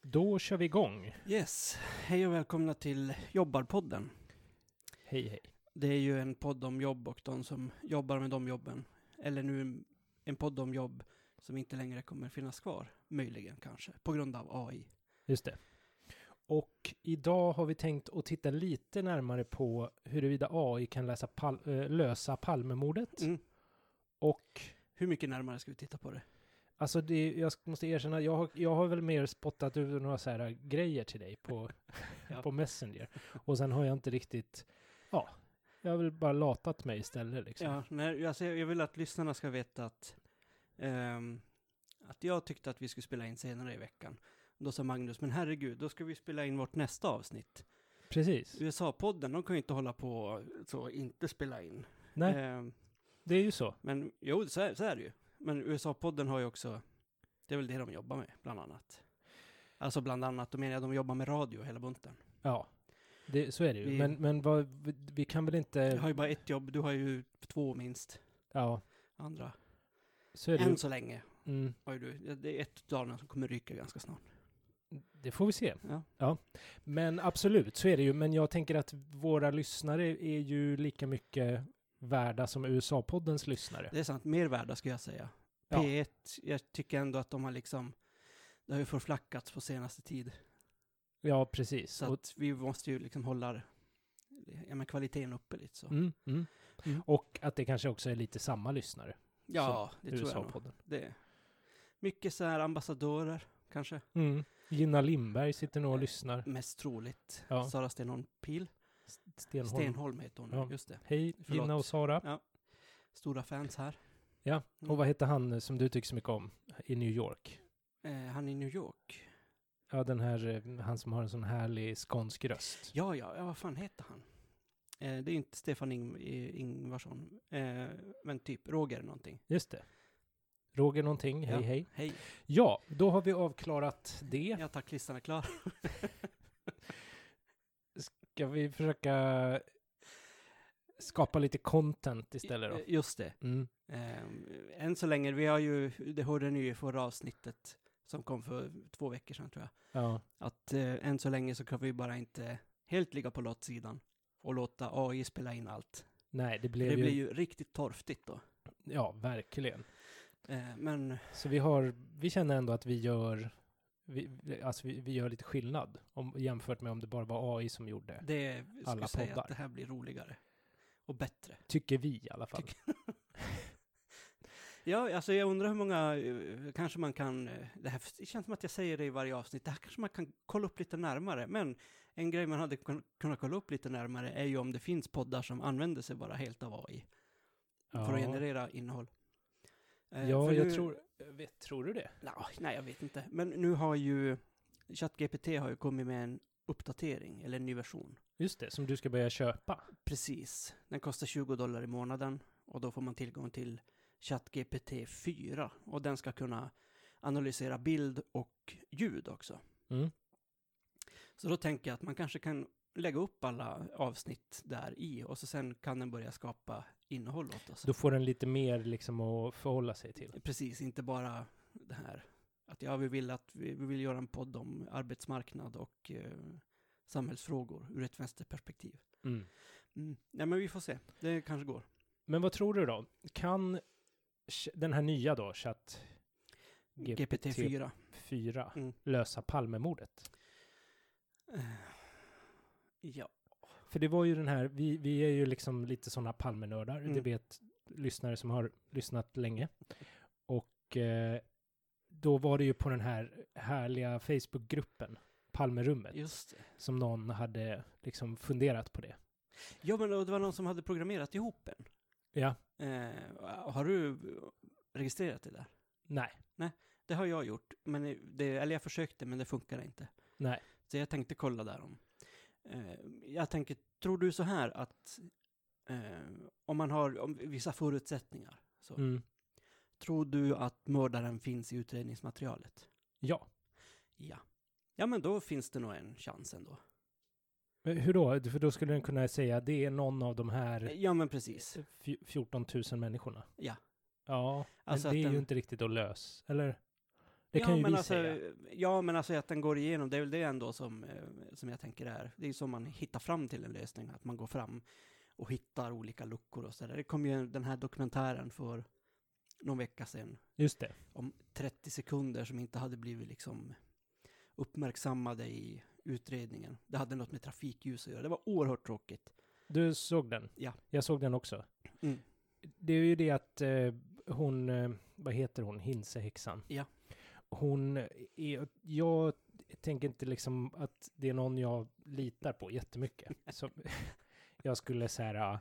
då kör vi igång. Yes, hej och välkomna till Jobbarpodden. Hej, hej. Det är ju en podd om jobb och de som jobbar med de jobben. Eller nu en podd om jobb som inte längre kommer finnas kvar, möjligen kanske, på grund av AI. Just det. Och idag har vi tänkt att titta lite närmare på huruvida AI kan läsa pal eh, lösa Palmemordet. Mm. Och Hur mycket närmare ska vi titta på det? alltså, det, jag måste erkänna, jag har, jag har väl mer spottat ut några så här eh, grejer till dig på, Ja. på Messenger. Och sen har jag inte riktigt, ja, jag har väl bara latat mig istället liksom. Ja, nej, alltså jag jag vill att lyssnarna ska veta att, ehm, att jag tyckte att vi skulle spela in senare i veckan. Då sa Magnus, men herregud, då ska vi spela in vårt nästa avsnitt. Precis. Mm. USA-podden, de kan ju inte hålla på och så, inte spela in. Nej, Ehm, det är ju så. Men jo, så är, så är det ju. Men USA-podden har ju också, det är väl det de jobbar med, bland annat. Alltså bland annat, då menar jag de jobbar med radio hela bunten. Ja, det, så är det ju. Vi- Men, men vad, vi- vi kan väl inte... Jag har ju bara ett jobb, du har ju två minst, Ja, andra. så är det ju. Än så länge Mm, har ju du, det är ett av dagarna som kommer ryka ganska snart. det får vi se. Ja. Men absolut, så är det ju. Men jag tänker att våra lyssnare är ju lika mycket värda som USA-poddens lyssnare. Det är sant, mer värda ska jag säga. Ja. P1, jag tycker ändå att de har liksom, det har ju förflackats på senaste tid. Ja, precis. Så Och, att vi måste ju liksom hålla ja, men kvaliteten uppe lite så. mm, mm. Mm. och att det kanske också är lite samma lyssnare. Ja, det tror jag nog. USA-podden. Det. Mycket så här ambassadörer, kanske. Mm. Gina Lindberg sitter Eh, nog och lyssnar. Mest troligt. Ja. Sara Stenholm Pil. Stenholm. Stenholm heter hon, Ja. just det. Hej, Förlåt. Gina och Sara. Stora fans här. Ja, och Mm. vad heter han eh, som du tycker så mycket om i New York? Eh, han är i New York. Ja, den här, eh, han som har en sån härlig skånsk röst. Ja, ja, ja vad fan heter han? Eh, det är inte Stefan Ing- I- Ingvarsson, eh, men typ Roger någonting. Just det. Roger någonting, hej Ja. hej. Hej, Ja, då har vi avklarat det. ja tack, listan är klar. Ska vi försöka skapa lite content istället då? Eh, Just det. Mm. Eh, än så länge, vi har ju, det hörde ni ju i förra avsnittet som kom för två veckor sedan tror jag. Ja, att eh, än så länge så kan vi bara inte helt ligga på låtsidan och låta AI spela in allt. nej, det Det, blev, blir ju... ju riktigt torftigt då. Ja, verkligen. Eh, men Så vi har, vi känner ändå att vi gör, vi, vi- alltså vi, vi gör lite skillnad om, jämfört med om det bara var AI som gjorde. det skulle Alla säga poddar. att det här blir roligare och bättre. Tycker vi i alla fall. Ja, alltså jag undrar hur många, eh, kanske man kan, eh, det här det känns som att jag säger det i varje avsnitt, det här kanske man kan kolla upp lite närmare, men en grej man hade kun- kunnat kolla upp lite närmare är ju om det finns poddar som använder sig bara helt av AI för att ja, generera innehåll. Eh, ja för jag nu- tror, jag vet, tror du det? Nå, nej, jag vet inte. Men nu har ju ChatGPT har ju kommit med en uppdatering, eller en ny version. Just det, som du ska börja köpa. Precis. Den kostar 20 dollar i månaden och då får man tillgång till ChatGPT 4 och den ska kunna analysera bild och ljud också. Mm. Så då tänker jag att man kanske kan lägga upp alla avsnitt där i och så sen kan den börja skapa innehåll åt oss. Då får den lite mer liksom att förhålla sig till. Precis, inte bara det här att ja, vi vill att vi, vi vill göra en podd om arbetsmarknad och eh, samhällsfrågor ur ett vänsterperspektiv. Mm. Mm. Nej, men vi får se. Det kanske går. Men vad tror du då? Kan ch- den här nya då, chatt GPT GPT-4. 4, Mm. lösa Palmemordet? Eh, Ja, För det var ju den här, vi, vi är ju liksom lite sådana Palmenördar, det Mm. vet lyssnare som har lyssnat länge. Och eh, då var det ju på den här härliga Facebookgruppen, Palmerummet, just det. som någon hade liksom funderat på det. Ja, men det var någon som hade programmerat ihop en. Ja, Eh, har du registrerat det där? nej, Det har jag gjort, men det, eller jag försökte, men det funkade inte. nej. Så jag tänkte kolla där om. Eh, jag tänker, tror du så här att eh, om man har om vissa förutsättningar, så, Mm. tror du att mördaren finns i utredningsmaterialet? Ja. Ja. Ja, men då finns det nog en chans ändå. Men Eh, Hur då? För då skulle den kunna säga det är någon av de här Ja, men precis. fj- 14 000 människorna. Eh, Ja. Ja, men Alltså det att är den- ju inte riktigt att lösa, eller? Det kan ja, ju men vi alltså, säga. Ja, men alltså att den går igenom, det är väl det ändå som, eh, som jag tänker är. Det är ju som man hittar fram till en lösning, att man går fram och hittar olika luckor och sådär. Det kom ju den här dokumentären för någon vecka sedan, Just det. om 30 sekunder som inte hade blivit liksom uppmärksammade i utredningen. Det hade något med trafikljus att göra. Det var oerhört tråkigt. Du såg den? Ja. Jag såg den också. Mm. Det är ju det att eh, hon, eh, vad heter hon, Hinsehäxan. Ja. Hon är, jag tänker inte liksom att det är någon jag litar på jättemycket. Som jag skulle så här ah,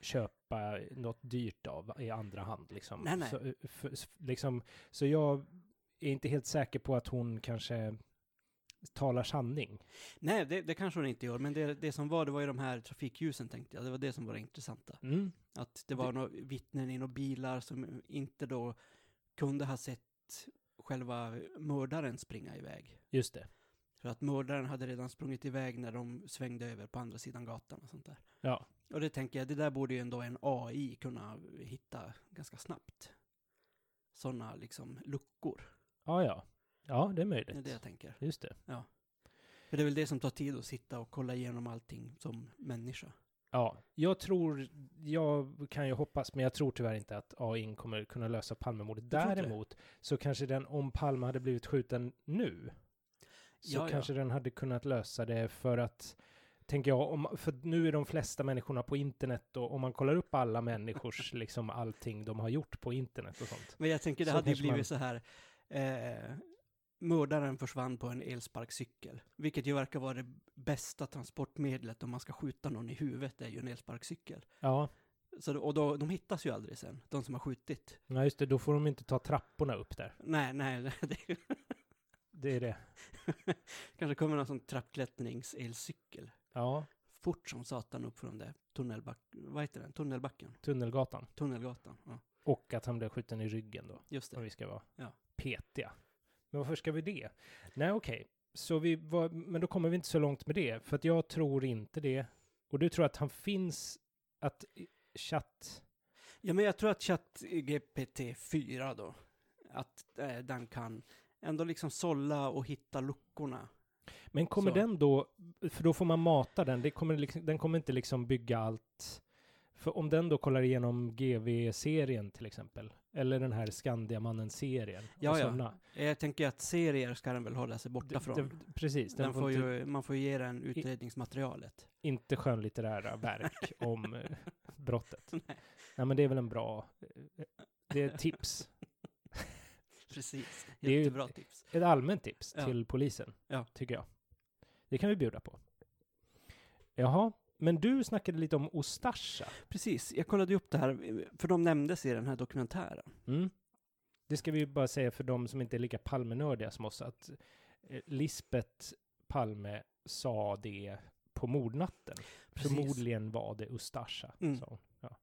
köpa något dyrt av i andra hand liksom. Nej, nej. Så, eh, för, s- liksom. så jag är inte helt säker på att hon kanske talar sanning. Nej, det, det kanske hon inte gör, men det, det som var, det var ju de här trafikljusen tänkte jag. Det var det som var det intressanta. Mm. Att det var några vittnen i några bilar som inte då kunde ha sett själva mördaren springa iväg. Just det. För att mördaren hade redan sprungit iväg när de svängde över på andra sidan gatan och sånt där. Ja. Och det tänker jag, det där borde ju ändå en AI kunna hitta ganska snabbt. Sådana liksom luckor, Ja, ja. Ja, det är det är möjligt. det jag tänker. Just det. För det är väl det som tar tid att sitta och kolla igenom allting som människa. Ja, jag tror, jag kan ju hoppas, men jag tror tyvärr inte att AI kommer kunna lösa Palmemordet. tror inte det. Däremot så kanske den, om Palme hade blivit skjuten nu, så Ja, ja. kanske den hade kunnat lösa det för att, tänker jag, om, för nu är de flesta människorna på internet och om man kollar upp alla människors, liksom allting de har gjort på internet och sånt. Men jag tänker det Så hade ju kanske man- blivit så här. Eh, mördaren försvann på en elsparkcykel. Vilket ju verkar vara det bästa transportmedlet om man ska skjuta någon i huvudet, det är ju en elsparkcykel. Ja, Så, då- och då, de hittas ju aldrig sen, de som har skjutit. ja just det, då får de inte ta trapporna upp där. Nej, nej, nej, det Det är det. kanske kommer någon sån trappklättrings-elcykel. Ja, Fort som satan upp från det tunnelback... Vad heter den? Tunnelbacken? Tunnelgatan. Tunnelgatan, ja. Och att han blev skjuten i ryggen då. Just det. om vi ska vara Ja. petiga. Men varför ska vi det? Nej, okej. Så vi var, men då kommer vi inte så långt med det, för att jag tror inte det. Och du tror att han finns, att i- chatt... Ja, men jag tror att ChatGPT-4 då, att eh, den kan ändå liksom sålla och hitta luckorna. Men kommer Så. den då, för då får man mata den, det kommer, liksom- den kommer inte liksom bygga allt. För om den då kollar igenom GV-serien till exempel, eller den här Skandiamannen-serien. och Ja, ja. såna. Eh, Jag tänker att serier ska den väl hålla sig borta Det- från. det- precis, den, den får, får inte, ju, man får ju ge den utredningsmaterialet. inte skönlitterära verk om eh, brottet. Nej. men det är väl en bra... eh, Det är ett tips. Precis, Det är ju- jättebra tips. Ett allmänt tips Ja. till polisen, Ja. tycker jag. Det kan vi bjuda på. Jaha, men du snackade lite om Ustasha. Precis, jag kollade ju upp det här, för de nämndes i den här dokumentären. Mm. Det ska vi ju bara säga för de som inte är lika Palmenördiga som oss, att eh, Lisbeth Palme sa det på mordnatten. Förmodligen var det Ustasha, Mm. sa hon. Ja.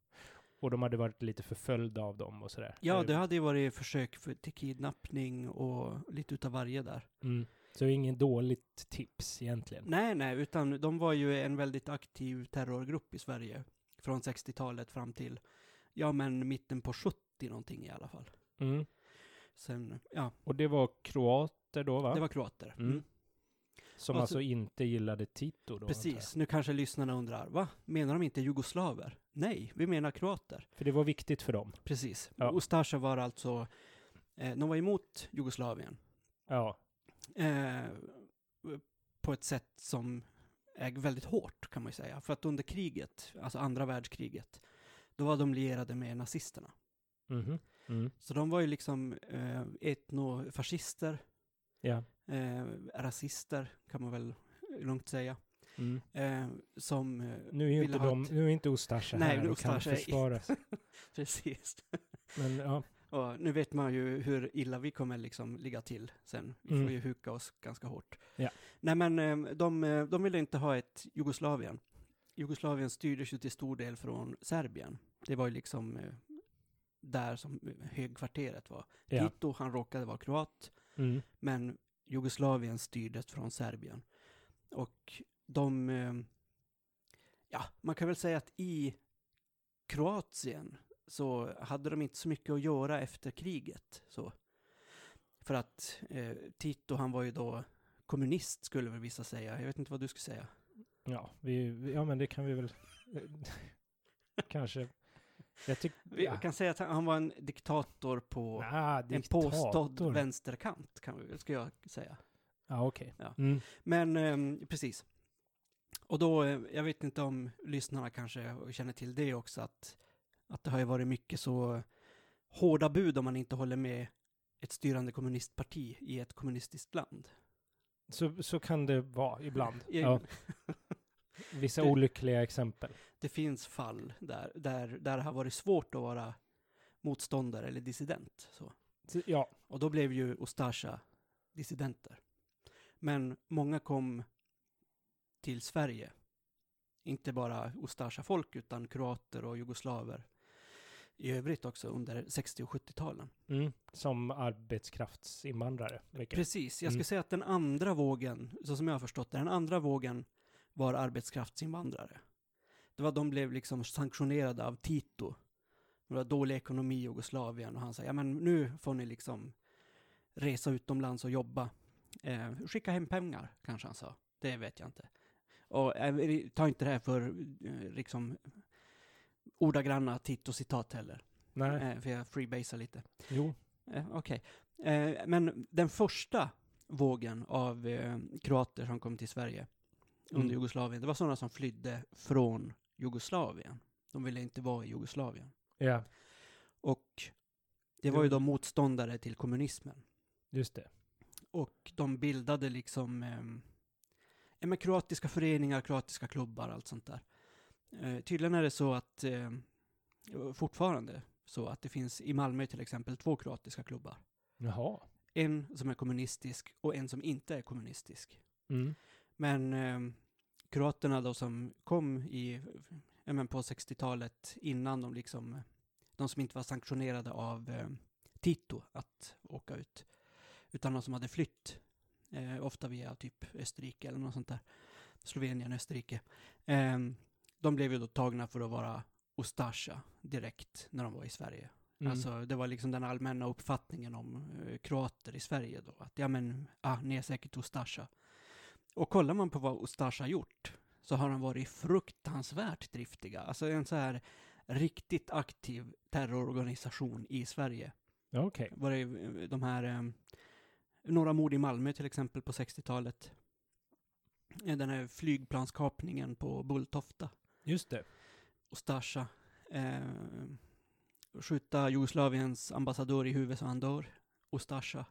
Och de hade varit lite förföljda av dem och sådär. Ja, Eh, det hade ju varit försök för, till kidnappning och lite utav varje där. Mm. Så ingen dåligt tips egentligen. Nej, nej, utan de var ju en väldigt aktiv terrorgrupp i Sverige. Från 60-talet fram till, ja men mitten på 70 någonting i alla fall. Mm. Sen, ja, Och det var kroater då va? det var kroater. Mm. Som Och så- alltså inte gillade Tito då? antar jag. Precis, nu kanske lyssnarna undrar, va? Menar de inte jugoslaver? Nej, vi menar kroater. För det var viktigt för dem. Precis. Ja. Ustasja var alltså, eh, de var emot Jugoslavien. Ja, Eh, på ett sätt som är väldigt hårt kan man ju säga. För att under kriget, alltså andra världskriget, då var de lierade med nazisterna. mhm. Mm. Så de var ju liksom eh, etnofascister, ja. eh, rasister kan man väl lugnt säga. Mm. Eh, som, eh, Nu är ju Ville inte, ha de, ett- nu är inte Ustasja Nej, här och kan Ustasja är- försvaras. precis. Men ja, Och nu vet man ju hur illa vi kommer liksom ligga till sen. Vi Mm. får ju huka oss ganska hårt. Ja. Nej men eh, de, eh, de ville inte ha ett Jugoslavien. Jugoslavien styrdes ju till stor del från Serbien. Det var ju liksom eh, där som eh, högkvarteret var. ja. Tito, han råkade vara kroat, Mm. men Jugoslavien styrdes från Serbien. Och de, eh, ja, man kan väl säga att i Kroatien så hade de inte så mycket att göra efter kriget. Så. För att eh, Tito, han var ju då kommunist skulle väl vissa säga. Jag vet inte vad du skulle säga. Ja, vi, vi- ja men det kan vi väl kanske. Jag tycker... Vi Ja. kan säga att han, han var en diktator på Ah, en påstådd vänsterkant, kan vi, ska jag säga. Ja, ah, okej. Ja. Mm. Men ehm, precis. Och då, eh, jag vet inte om lyssnarna kanske känner till det också, att, att det har ju varit mycket så hårda bud om man inte håller med ett styrande kommunistparti i ett kommunistiskt land. Så, så kan det vara ibland. I- Ja, vissa Det- olyckliga exempel. Det finns fall där, där, där det har varit svårt att vara motståndare eller dissident. Så. Så, Ja, Och då blev ju Ustasja dissidenter. Men många kom till Sverige. Inte bara Ustasja-folk utan kroater och jugoslaver i övrigt också under 60 och 70-talen. mm. som arbetskraftsinvandrare. Mycket. Precis, jag skulle Mm. säga att den andra vågen, så som jag har förstått det, den andra vågen var arbetskraftsinvandrare. Det var de blev liksom sanktionerade av Tito. Det var dålig ekonomi i Jugoslavien och han sa, ja men nu får ni liksom resa utomlands och jobba. Eh, skicka hem pengar, kanske han sa. Det vet jag inte. Och eh, ta inte det här för eh, liksom ordagranna Tito-citat heller. Nej, Eh, för jag freebasar lite. jo. Eh, Okej. Eh, men den första vågen av eh, kroater som kom till Sverige under Mm. Jugoslavien, det var sådana som flydde från Jugoslavien. De ville inte vara i Jugoslavien. Ja, Och det var ju då motståndare till kommunismen. just det. Och de bildade liksom eh, ja, men kroatiska föreningar, kroatiska klubbar, allt sånt där. Eh, tydligen är det så att, eh, fortfarande, så att det finns i Malmö till exempel två kroatiska klubbar. Jaha. En som är kommunistisk och en som inte är kommunistisk. Mm. Men eh, kroaterna då som kom i, ja, men på 60-talet innan de liksom, de som inte var sanktionerade av eh, Tito att åka ut, utan de som hade flytt, eh, ofta via typ Österrike eller något sånt där, Slovenien, Österrike, eh, de blev ju då tagna för att vara Ustasja direkt när de var i Sverige. Mm. Alltså det var liksom den allmänna uppfattningen om eh, kroater i Sverige då. Att ja men, ah, ni är säkert Ustasja. Och kollar man på vad Ustasja gjort så har de varit fruktansvärt driftiga. Alltså en så här riktigt aktiv terrororganisation i Sverige. Ja, okej. Var det eh, de här, eh, några mord i Malmö till exempel på 60-talet. Eh, Den här flygplanskapningen på Bulltofta. Just det. Ustasja. Eh, skjuta Jugoslaviens ambassadör i huvudet så han dör. Ustasja.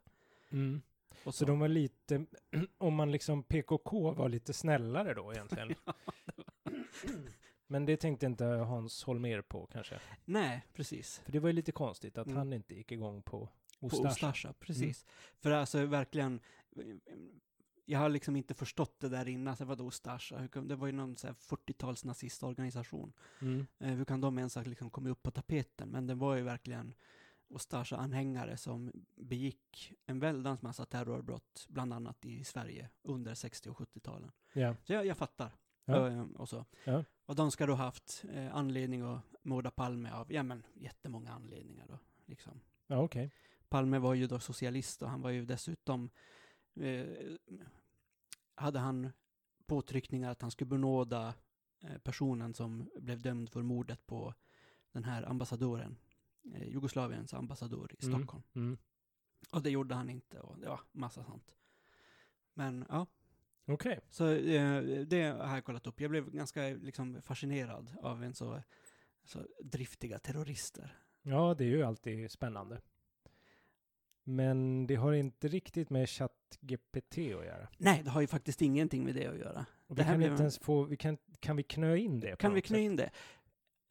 Mm. Och Så de var lite, om man liksom PKK var lite snällare då egentligen. Men det tänkte inte Hans Holmer på kanske. Nej, precis. För det var ju lite konstigt att Mm. han inte gick igång på På Ustasja. Ustasja, precis. För alltså verkligen, jag har liksom inte förstått det där innan. Så vadå Ustasja? Hur kom- Det var ju någon så här 40-tals nazistorganisation. Mm. Eh, hur kan de ens ha liksom kommit upp på tapeten? Men det var ju verkligen Ustasja-anhängare som begick en väldans massa terrorbrott, bland annat i Sverige under 60 och 70-talen. Ja. Så jag, jag fattar. Ja. Eh, Och, så. Ja. och de ska då haft eh, anledning att mörda Palme av, ja men jättemånga anledningar då. Liksom. Ja, okej. Palme var ju då socialist och han var ju dessutom, eh, hade han påtryckningar att han skulle benåda eh, personen som blev dömd för mordet på den här ambassadören, eh, Jugoslaviens ambassadör i Mm. Stockholm. Mm. Och det gjorde han inte och det var massa sånt. Men ja, Okej. så eh, det har jag kollat upp. Jag blev ganska liksom, fascinerad av en så, så driftiga terrorister. Ja, det är ju alltid spännande. Men det har inte riktigt med ChatGPT att göra. Nej, det har ju faktiskt ingenting med det att göra. Och Det vi här kan blev inte en- ens få, vi kan, kan vi knö in det? på Kan vi något knö sätt? in det?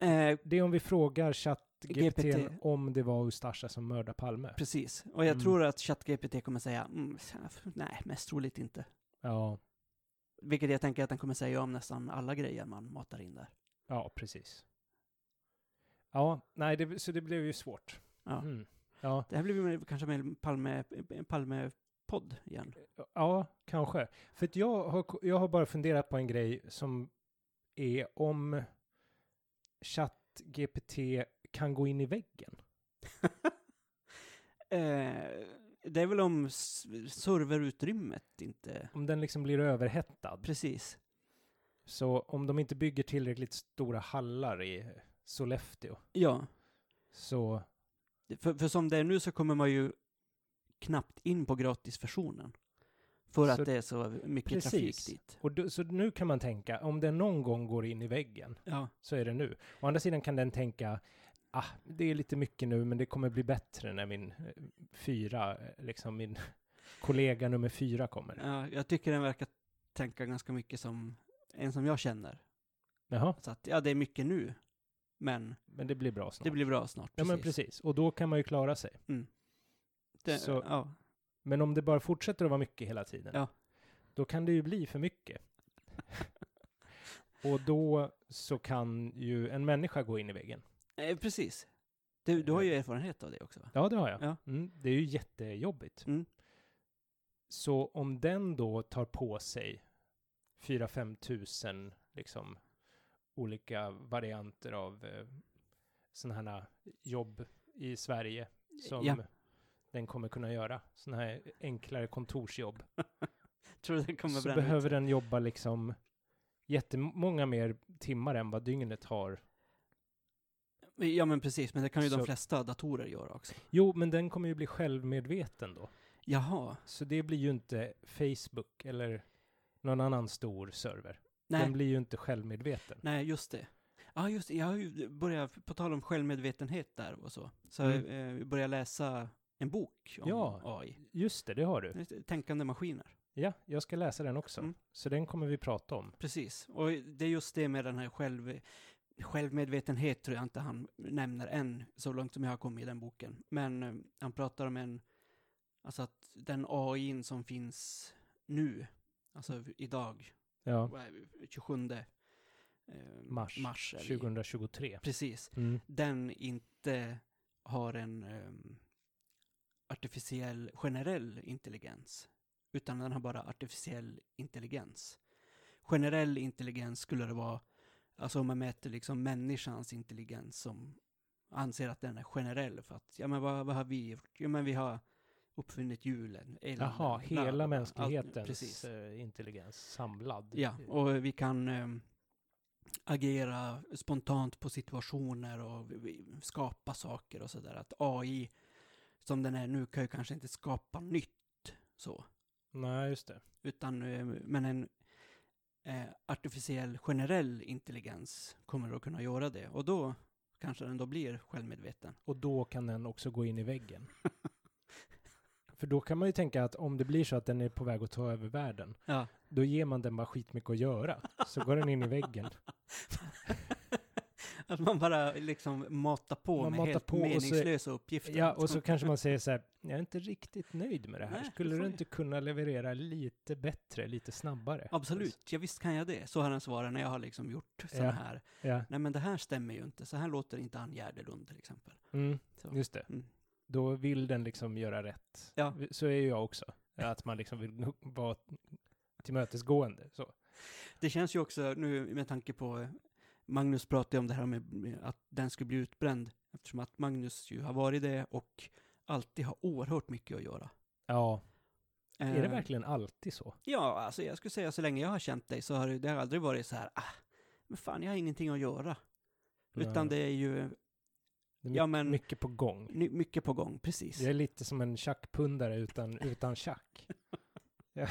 Eh, Det är om vi frågar ChatGPT GPT. om det var Ustasja som mördade Palme. precis. Och jag Mm. tror att ChatGPT kommer säga, mm, nej, mest troligt inte. Ja, Vilket jag tänker att den kommer säga om nästan alla grejer man matar in där. ja precis. Ja, nej, det, så det blev ju svårt. Ja. Mm. Ja, Det här blir ju kanske mer en Palme, en Palme-podd igen. ja, kanske. För att jag har, jag har bara funderat på en grej som är om ChatGPT kan gå in i väggen. Eh, det är väl om s- serverutrymmet inte... Om den liksom blir överhettad. Precis. Så om de inte bygger tillräckligt stora hallar i Sollefteå Ja. så För, för som det är nu så kommer man ju knappt in på gratisversionen. För Så- att det är så mycket Precis. trafik dit. Och då, så nu kan man tänka, om den någon gång går in i väggen, Ja. så är det nu. Å andra sidan kan den tänka, ah, det är lite mycket nu, men det kommer bli bättre när min eh, fyra, eh, liksom min kollega nummer fyra kommer. ja. Jag tycker den verkar tänka ganska mycket som en som jag känner. Jaha, Så att, ja, det är mycket nu. Men men det blir bra snart. det blir bra snart. Ja, men precis. Och då kan man ju klara sig. Det, så- ja. Men om det bara fortsätter att vara mycket hela tiden, Ja. då kan det ju bli för mycket. Och då så kan ju en människa gå in i väggen. Eh, precis. Du, du har Eh. ju erfarenhet av det också. va? Ja, det har jag. Ja. Mm, det är ju jättejobbigt. Mm. Så om den då tar på sig 4-5 tusen liksom olika varianter av eh, sådana här eh, jobb i Sverige som Ja. den kommer kunna göra. Sådana här enklare kontorsjobb. Tror du den kommer Så bränna ut? behöver den jobba liksom jättemånga mer timmar än vad dygnet har. Ja, men precis. Men det kan ju Så- de flesta datorer göra också. Jo, men den kommer ju bli självmedveten då. Jaha. Så det blir ju inte Facebook eller någon annan stor server. Nej. Den blir ju inte självmedveten. Nej, just det. Ja, just det. Jag har ju börjat, på tal om självmedvetenhet där och så, så Mm. mm. eh, började jag läsa en bok om Ja. AI. Just det, det har du. Just det, Tänkande maskiner. Ja, jag ska läsa den också. Mm. Så den kommer vi prata om. Precis. Och det är just det med den här själv, självmedvetenhet tror jag inte han nämner än, så långt som jag har kommit i den boken. Men eh, han pratar om en, alltså att den AI som finns nu, alltså idag, Ja, vad är vi, 27 eh, Mars. mars är vi. 2023. Precis. Mm. den inte har en ehm, artificiell generell intelligens, utan den har bara artificiell intelligens. Generell intelligens skulle det vara, alltså om man mäter liksom människans intelligens som anser att den är generell för att, ja men vad, vad har vi gjort? Jo men vi har uppfunnit hjulen, elden, Jaha, bla, bla, hela bla, allt- mänsklighetens precis. eh, intelligens samlad. Ja, och vi kan ehm, agera spontant på situationer och vi- vi- skapa saker och sådär. Att AI, som den är nu, kan ju kanske inte skapa nytt så. Nej, just det. Utan, eh, men en eh, artificiell generell intelligens kommer att kunna göra det. Och då kanske den då blir självmedveten. Och då kan den också gå in i väggen. För då kan man ju tänka att om det blir så att den är på väg att ta över världen, Ja. då ger man den bara skitmycket att göra. Så går den in i väggen. Att man bara liksom matar på Man med matar helt på och så- meningslösa uppgifter. Ja, och så kanske man säger så här, jag är inte riktigt nöjd med det här. Nej, Skulle det får du jag. inte kunna leverera lite bättre, lite snabbare? Absolut, ja visst kan jag det. Så har den svarat när jag har liksom gjort sådana Ja. här Ja, Nej men det här stämmer ju inte, så här låter inte Ann Gärdelund till exempel. mm, Så. just det. Mm. Då vill den liksom göra rätt. Ja. Så är ju jag också. Att man liksom vill vara tillmötesgående. Så. Det känns ju också nu med tanke på, eh, Magnus pratade ju om det här med, med att den skulle bli utbränd, eftersom att Magnus ju har varit det och alltid har oerhört mycket att göra. Ja, är det Eh, verkligen alltid så? Ja, alltså jag skulle säga så länge jag har känt dig så har det, det har aldrig varit så här, ah, men fan jag har ingenting att göra. Utan det Nej. är ju det är ja, mycket, men- mycket på gång. ny- mycket på gång, precis. Jag är lite som en tjackpundare utan, utan tjack. Ja.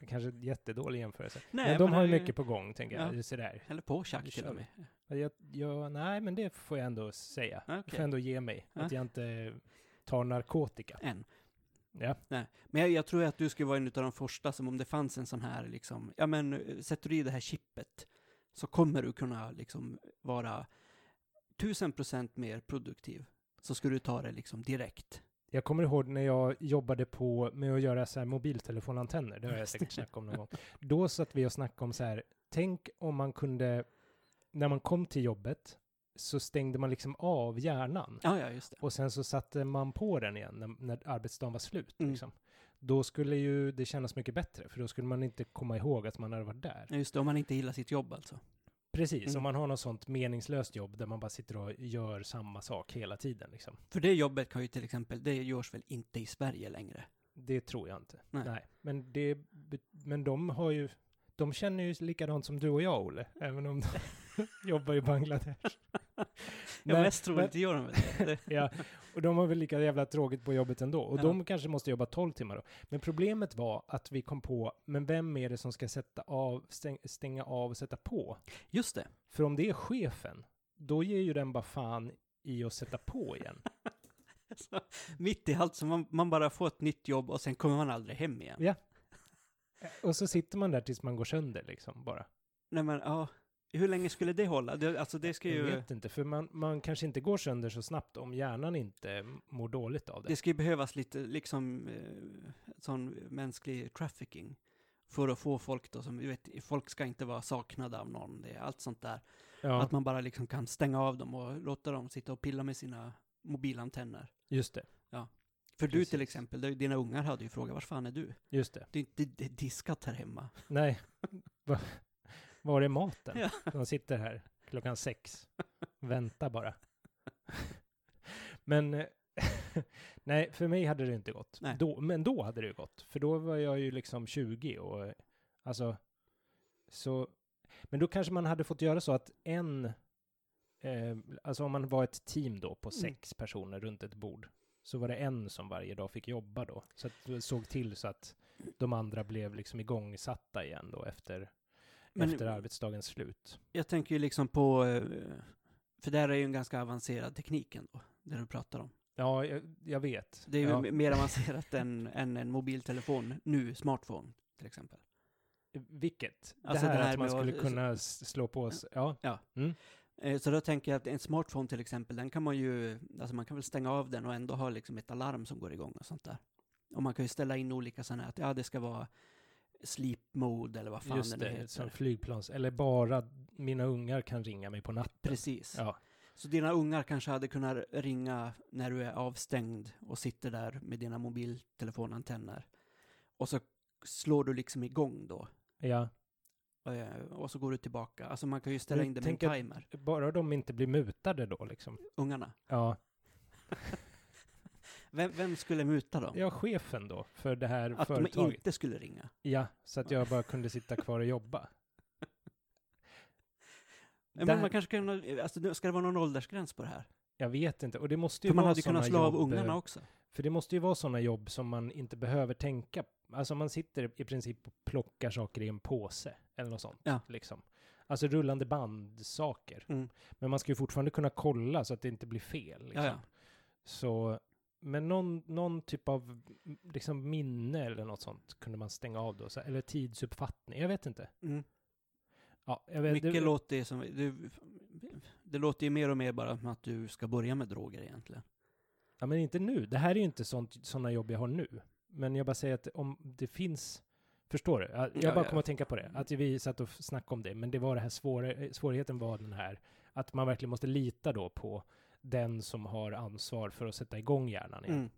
Det Kanske är en jättedålig jämförelse. Nej, men de men har ju det- mycket på gång, tänker jag. Ja. Ja. Sådär. Eller på Nu tjack till kör och vi. med. Ja, Jag, jag, nej, men det får jag ändå säga. Jag får Okej. ändå ge mig. Ja. Att jag inte tar narkotika. Än. Ja, Nej, men jag, jag tror att du skulle vara en av de första som om det fanns en sån här liksom, ja men eh, sätter du i det här chippet så kommer du kunna liksom vara tusen procent mer produktiv. Så ska du ta det liksom direkt. jag kommer ihåg när jag jobbade på med att göra så här mobiltelefonantenner. Det har jag säkert snackat om någon gång. Då satt vi och snackade om så här, tänk om man kunde, när man kom till jobbet så stängde man liksom av hjärnan. Ja, ja, just det. Och sen så satte man på den igen när, när arbetsdagen var slut. Mm. Liksom. Då skulle ju det kännas mycket bättre, för då skulle man inte komma ihåg att man hade varit där. Ja, just det, om man inte gillar sitt jobb alltså. Precis, Mm. om man har något sånt meningslöst jobb där man bara sitter och gör samma sak hela tiden. Liksom. För det jobbet kan ju till exempel, det görs väl inte i Sverige längre? Det tror jag inte. Nej. Nej. Men, det, be- men de har ju, de känner ju likadant som du och jag, Olle, även om de jobbar i Bangladesh. Ja, Men- mest troligt gör de väl det. det. Ja, och de har väl lika jävla tråkigt på jobbet ändå. Och Ja. de kanske måste jobba 12 timmar då. Men problemet var att vi kom på, men vem är det som ska sätta av, stäng, stänga av och sätta på? Just det. För om det är chefen, då ger ju den bara fan i att sätta på igen. Så, mitt i allt, så man, man bara får ett nytt jobb och sen kommer man aldrig hem igen. Ja. Och så sitter man där tills man går sönder liksom bara. Nej men, ja. Hur länge skulle det hålla? Det, alltså det ska Jag ju... vet inte, för man, man kanske inte går sönder så snabbt om hjärnan inte mår dåligt av det. Det ska ju behövas lite, liksom, eh, sån mänsklig trafficking. För att få folk då som, du vet, folk ska inte vara saknade av någon, det är allt sånt där. ja, Att man bara liksom kan stänga av dem och låta dem sitta och pilla med sina mobilantenner. just det. För du Precis. till exempel, det- dina ungar hade ju frågat, var fan är du? Just det. Det är inte det är diskat här hemma. Nej, Va- var är maten? Ja. De sitter här klockan sex. Vänta bara. Men eh, nej, för mig hade det inte gått. Nej. Då, men då hade det ju gått, för då var jag ju liksom 20 och eh, alltså så. Men då kanske man hade fått göra så att en, eh, alltså om man var ett team då på Mm. sex personer runt ett bord, så var det en som varje dag fick jobba då, så att du såg till så att de andra blev liksom igångsatta igen då efter, Men- efter arbetsdagens slut. Jag tänker ju liksom på, eh, för det här är ju en ganska avancerad teknik ändå, det du pratar om. Ja, jag, jag vet. Det är ju ja. m- mer avancerat än, än en mobiltelefon, nu smartphone till exempel. Vilket? Alltså det här, det här att man med skulle att- kunna s- slå på oss. Ja, Eh, Så då tänker jag att en smartphone till exempel, den kan man ju, alltså man kan väl stänga av den och ändå ha liksom ett alarm som går igång och sånt där. Och man kan ju ställa in olika sådana här, att ja det ska vara sleep mode eller vad fan just det nu det. Som heter. flygplans... Eller bara mina ungar kan ringa mig på natten. Precis. Ja, Så dina ungar kanske hade kunnat ringa när du är avstängd och sitter där med dina mobiltelefonantenner. Och så slår du liksom igång då. ja. eh, Och så går du tillbaka. Alltså man kan ju ställa Men in det med en tänk att- timer. Bara de inte blir mutade då liksom. Ungarna. Ja, Vem, vem skulle muta dem? ja chefen då för det här att de företaget. inte skulle ringa. Ja, så att jag bara kunde sitta kvar och jobba. Men Där- man kanske kan, alltså nu ska det vara någon åldersgräns på det här? Jag vet inte. Och det måste ju För man vara hade ju kunnat såna slå av jobb, ungarna eh, också. För det måste ju vara sådana jobb som man inte behöver tänka. Alltså man sitter i princip och plockar saker i en påse eller något sånt. Ja. Liksom. Alltså rullande bandsaker. Mm. Men man ska ju fortfarande kunna kolla så att det inte blir fel. Liksom. Ja, ja. Så, men någon, någon typ av mm, liksom, minne eller något sånt kunde man stänga av då. Så, eller tidsuppfattning, jag vet inte. Mm. Ja, jag vet, Mycket det, låter ju som, det, det låter ju mer och mer bara som att du ska börja med droger egentligen. ja, men inte nu. Det här är ju inte sådana jobb jag har nu. Men jag bara säger att om det finns... Förstår du? Jag, Ja, jag bara ja. kom att tänka på det. Att vi satt och f- snackade om det, men det var det här svåra, eh, svårigheten var den här att man verkligen måste lita då på den som har ansvar för att sätta igång hjärnan igen. Mm.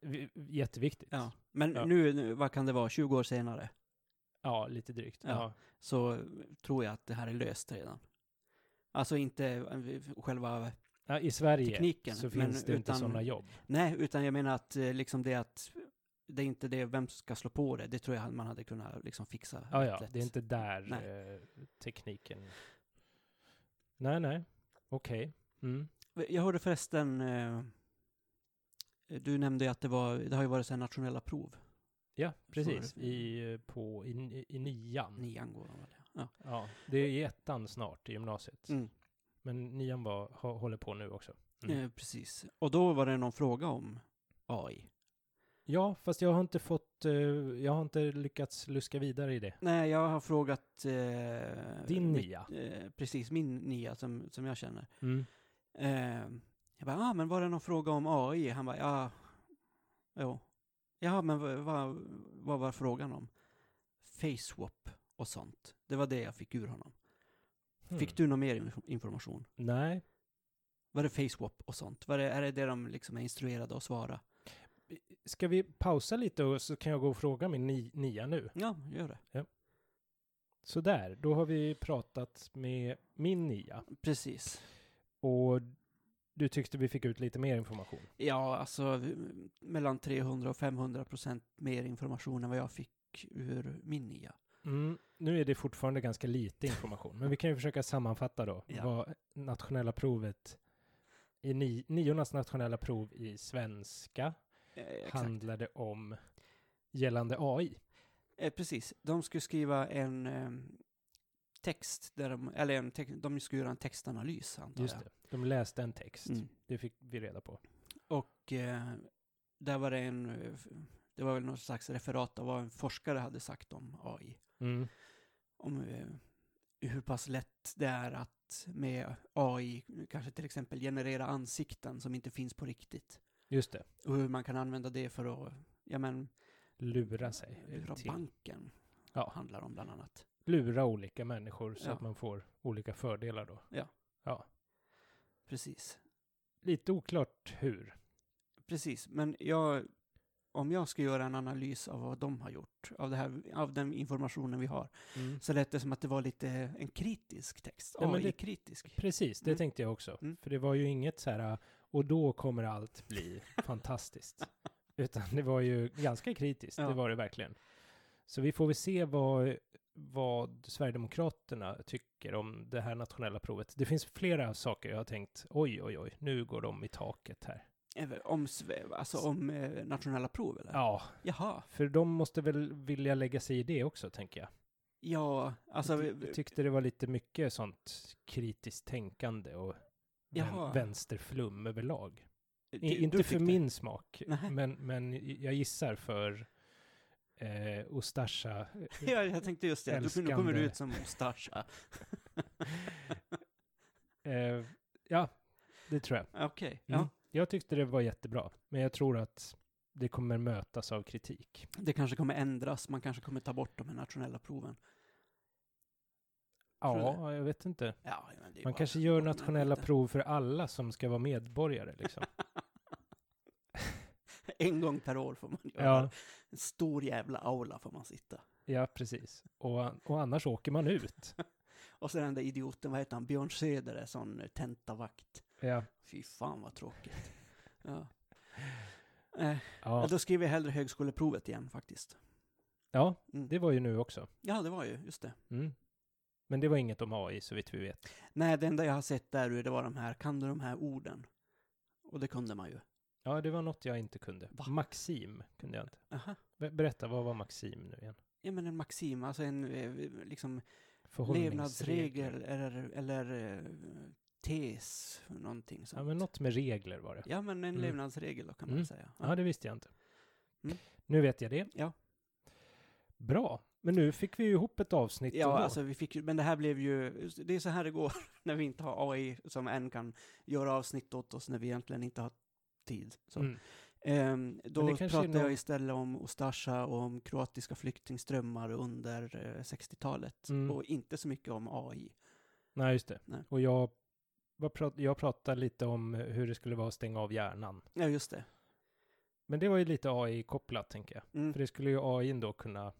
Vi- Jätteviktigt. Ja, men Ja. Nu, nu, vad kan det vara, 20 år senare, Ja, lite drygt. Ja. Ja. så tror jag att det här är löst redan. Alltså inte eh, själva, Ja, I Sverige Tekniken, så men finns det inte utan- sådana jobb. nej, utan jag menar att eh, liksom det att det är inte det, vem som ska slå på det, det tror jag man hade kunnat liksom fixa. Ja, rätt ja, lätt. det är inte där Nej. eh, tekniken... Nej, nej. Okej. Mm. Jag hörde förresten, eh, du nämnde ju att det var, det har ju varit så här nationella prov, Ja, precis. det. I, eh, på, i, i nian. nian går de väl? Ja. Ja, det är i ettan snart i gymnasiet. Mm. Men nian var, ha, håller på nu också. Mm. Eh, precis. Och då var det någon fråga om AI. Ja, fast jag har inte fått, eh, jag har inte lyckats luska vidare i det. Nej, jag har frågat... Eh, Din mitt- nia. Eh, precis, min nia som, som jag känner. Mm. Eh, jag bara, ah, men var det någon fråga om AI? Han bara, ja, jo. Ja, men vad va, vad var frågan om? Facewap och sånt. Det var det jag fick ur honom. Hmm. Mm. Fick du någon mer inf- information? Nej, Var det facewap och sånt? Var det, är det det de liksom är instruerade att svara? Ska vi pausa lite och så kan jag gå och fråga min ni, nia nu? Ja, gör det. Sådär, då har vi pratat med min Nia. Precis. Och du tyckte vi fick ut lite mer information. Ja, alltså vi- mellan 300 och 500 procent mer information än vad jag fick ur min nia. Mm, nu är det fortfarande ganska lite information, men vi kan ju försöka sammanfatta då Ja. vad nationella provet i ni, niornas nationella prov i svenska Eh, exakt. handlade om gällande AI. Eh, precis. De skulle skriva en eh, text, där de, eller en tex- de skulle göra en textanalys antar Just jag. det, de läste en text. Mm. Det fick vi reda på. Och eh, där var det en, eh, f- det var väl någon slags referat av vad en forskare hade sagt om AI. Mm. Om eh, hur pass lätt det är att med AI kanske till exempel generera ansikten som inte finns på riktigt. Just det, Och hur man kan använda det för att, ja men, lura sig. eh, lura till- banken Ja. handlar om bland annat. lura olika människor så Ja. att man får olika fördelar då. Precis. Lite oklart hur. Precis, men jag, om jag ska göra en analys av vad de har gjort, av, det här, av den informationen vi har, Mm. så lät det som att det var lite en kritisk text. Ja, men det- AI-kritisk. Precis, det Mm. tänkte jag också. Mm. För det var ju inget så här, äh, och då kommer allt bli fantastiskt. Utan det var ju ganska kritiskt, Ja. det var det verkligen. Så vi får väl se vad, vad Sverigedemokraterna tycker om det här nationella provet. Det finns flera saker jag har tänkt, oj, oj, oj, nu går de i taket här. Eh, Om, sve- alltså om eh, nationella prov eller? Ja, Jaha. för de måste väl vilja lägga sig i det också, tänker jag. Ja, alltså jag, vi- ty- jag tyckte det var lite mycket sånt kritiskt tänkande och Jaha. vän, vänsterflum överlag. det- I, Eh, du inte för fick det. min smak, Nej. men, men jag gissar för eh, Ustasha. Ja, jag tänkte just det. Du, nu kommer Älskande. du ut som Ustasha. Eh, ja, det tror jag. Okej, Mm. ja. Jag tyckte det var jättebra, men jag tror att det kommer mötas av kritik. Det kanske kommer ändras. Man kanske kommer ta bort de här nationella proven. Tror du Ja, jag vet inte. Ja, men det är Man bara- kanske gör bara- nationella prov för alla som ska vara medborgare, liksom. En gång per år får man göra. ja, En stor jävla aula får man sitta. ja, precis. Och, och annars åker man ut. Och så den där idioten, vad heter han? Björn Söder är sån eh, tentavakt. Ja. Fy fan vad tråkigt. Ja. Eh, Ja, ja, Då skriver jag hellre högskoleprovet igen faktiskt. ja, Mm. det var ju nu också. Ja, det var ju, just det. Mm. Men det var inget om AI så vitt vi vet. Nej, det enda jag har sett där ur, det var de här, kan du de här orden? Och det kunde man ju. Ja, det var något jag inte kunde. Va? Maxim kunde jag inte. Aha. Be- Berätta, vad var Maxim nu igen? Ja, men en maxim, alltså en eh, liksom levnadsregel Förhållningsregler. eller, eller eh, tes, någonting sånt. Ja, men något med regler var det. Ja, men en Mm. levnadsregel då kan man Mm. säga. Ja, det visste jag inte. Mm. Nu vet jag det. Ja. Bra. Men nu fick vi ju ihop ett avsnitt Ja, ändå. alltså vi fick ju, men det här blev ju, det är så här det går när vi inte har AI som än kan göra avsnitt åt oss när vi egentligen inte har tid. Så. Mm. Ehm, då Men det pratar kanske är någon- jag istället om Ustasja och om kroatiska flyktingströmmar under eh, 60-talet Mm. och inte så mycket om AI. Nej, just det. Nej. Och jag, vad prat, jag pratade lite om hur det skulle vara att stänga av hjärnan. Ja, just det. Men det var ju lite AI-kopplat, tänker jag. Mm. För det skulle ju AI då kunna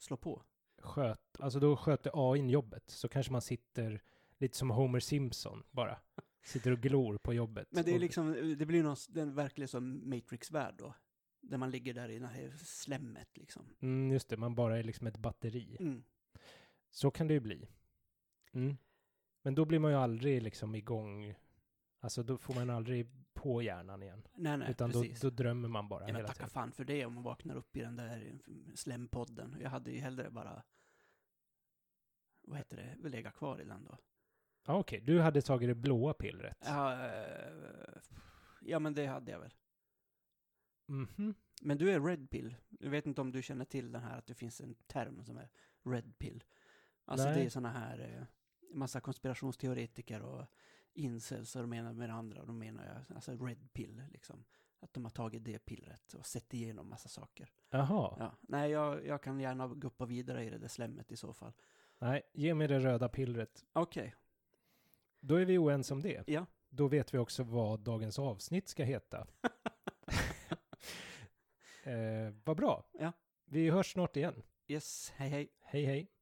Slå på. sköt, alltså då sköter AIn jobbet. Så kanske man sitter lite som Homer Simpson bara. Sitter och glor på jobbet. Men det är Och- liksom, det blir någon, den verkligen som Matrix-värld då. Där man ligger där i det här slemmet liksom. Mm, just det, man bara är liksom ett batteri. Mm. Så kan det ju bli. Mm. Men då blir man ju aldrig liksom igång. Alltså då får man aldrig på hjärnan igen. Nej, nej, Utan då, precis. då drömmer man bara Ja, men hela tacka tiden. fan för det om man vaknar upp i den där eh, slempodden. Jag hade ju hellre bara, vad heter det, legat kvar i den då. Ja, Ah, okej. Du hade tagit det blåa pillret. Ja, eh, ja, men det hade jag väl. Mhm. Men du är red pill. Jag vet inte om du känner till den här att det finns en term som är red pill. Alltså Nej. det är sådana här, eh, massa konspirationsteoretiker och incels och de menar med det andra. De menar jag, alltså red pill liksom. Att de har tagit det pillret och sett igenom massa saker. Jaha. Ja, nej, jag, jag kan gärna guppa vidare i det där slemmet i så fall. Nej, ge mig det röda pillret. Okej, Då är vi oense om det. ja. Då vet vi också vad dagens avsnitt ska heta. eh, vad bra. Ja. Eh, Vi hörs snart igen. Yes, hej hej. Hej hej.